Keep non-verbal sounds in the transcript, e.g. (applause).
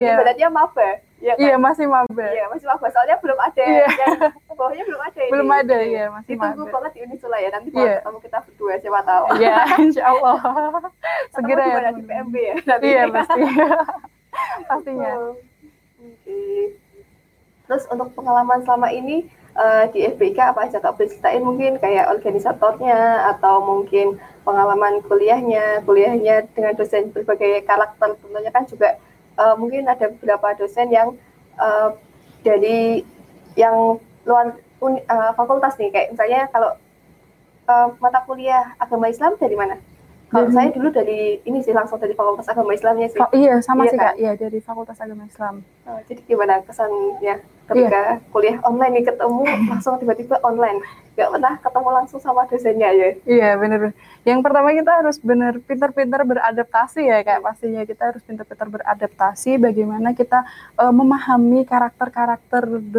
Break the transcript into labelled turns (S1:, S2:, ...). S1: Iya.
S2: Ibaratnya maba. Iya, kan?
S1: Iya masih maba.
S2: Iya, masih maba. Soalnya belum ada
S1: Iya.
S2: yang bawahnya belum ada ini.
S1: Belum ada ya masih
S2: iya. Ditunggu
S1: maba.
S2: banget di Unisula ya. Nanti
S1: Iya.
S2: kalau ketemu kita berdua siapa tahu.
S1: (laughs) Iya Insya Allah.
S2: Ketemu
S1: Segera
S2: di
S1: ya.
S2: mana? di
S1: teman-teman.
S2: PMB ya. Nanti.
S1: Iya pasti. (laughs) Pastinya.
S2: Oh, Oke. Terus untuk pengalaman selama ini eh, di FBK apa aja Kak boleh ceritain mungkin kayak organisatornya atau mungkin pengalaman kuliahnya, kuliahnya dengan dosen berbagai karakter tentunya kan juga eh, mungkin ada beberapa dosen yang eh, dari yang luar uni- eh, fakultas nih kayak misalnya kalau eh, mata kuliah agama Islam dari mana? Kalau
S1: Dari-
S2: saya dulu dari ini sih langsung dari fakultas agama Islamnya sih.
S1: Fa- iya sama
S2: Iya,
S1: sih
S2: kan?
S1: kak. Iya dari Fakultas Agama Islam.
S2: Oh, jadi gimana kesannya ketika kuliah online nih ketemu langsung tiba-tiba online, nggak pernah ketemu langsung sama dosennya ya?
S1: Iya bener. Yang pertama kita harus bener pinter-pinter beradaptasi ya kak. Pastinya kita harus pinter-pinter beradaptasi. Bagaimana kita eh, memahami karakter-karakter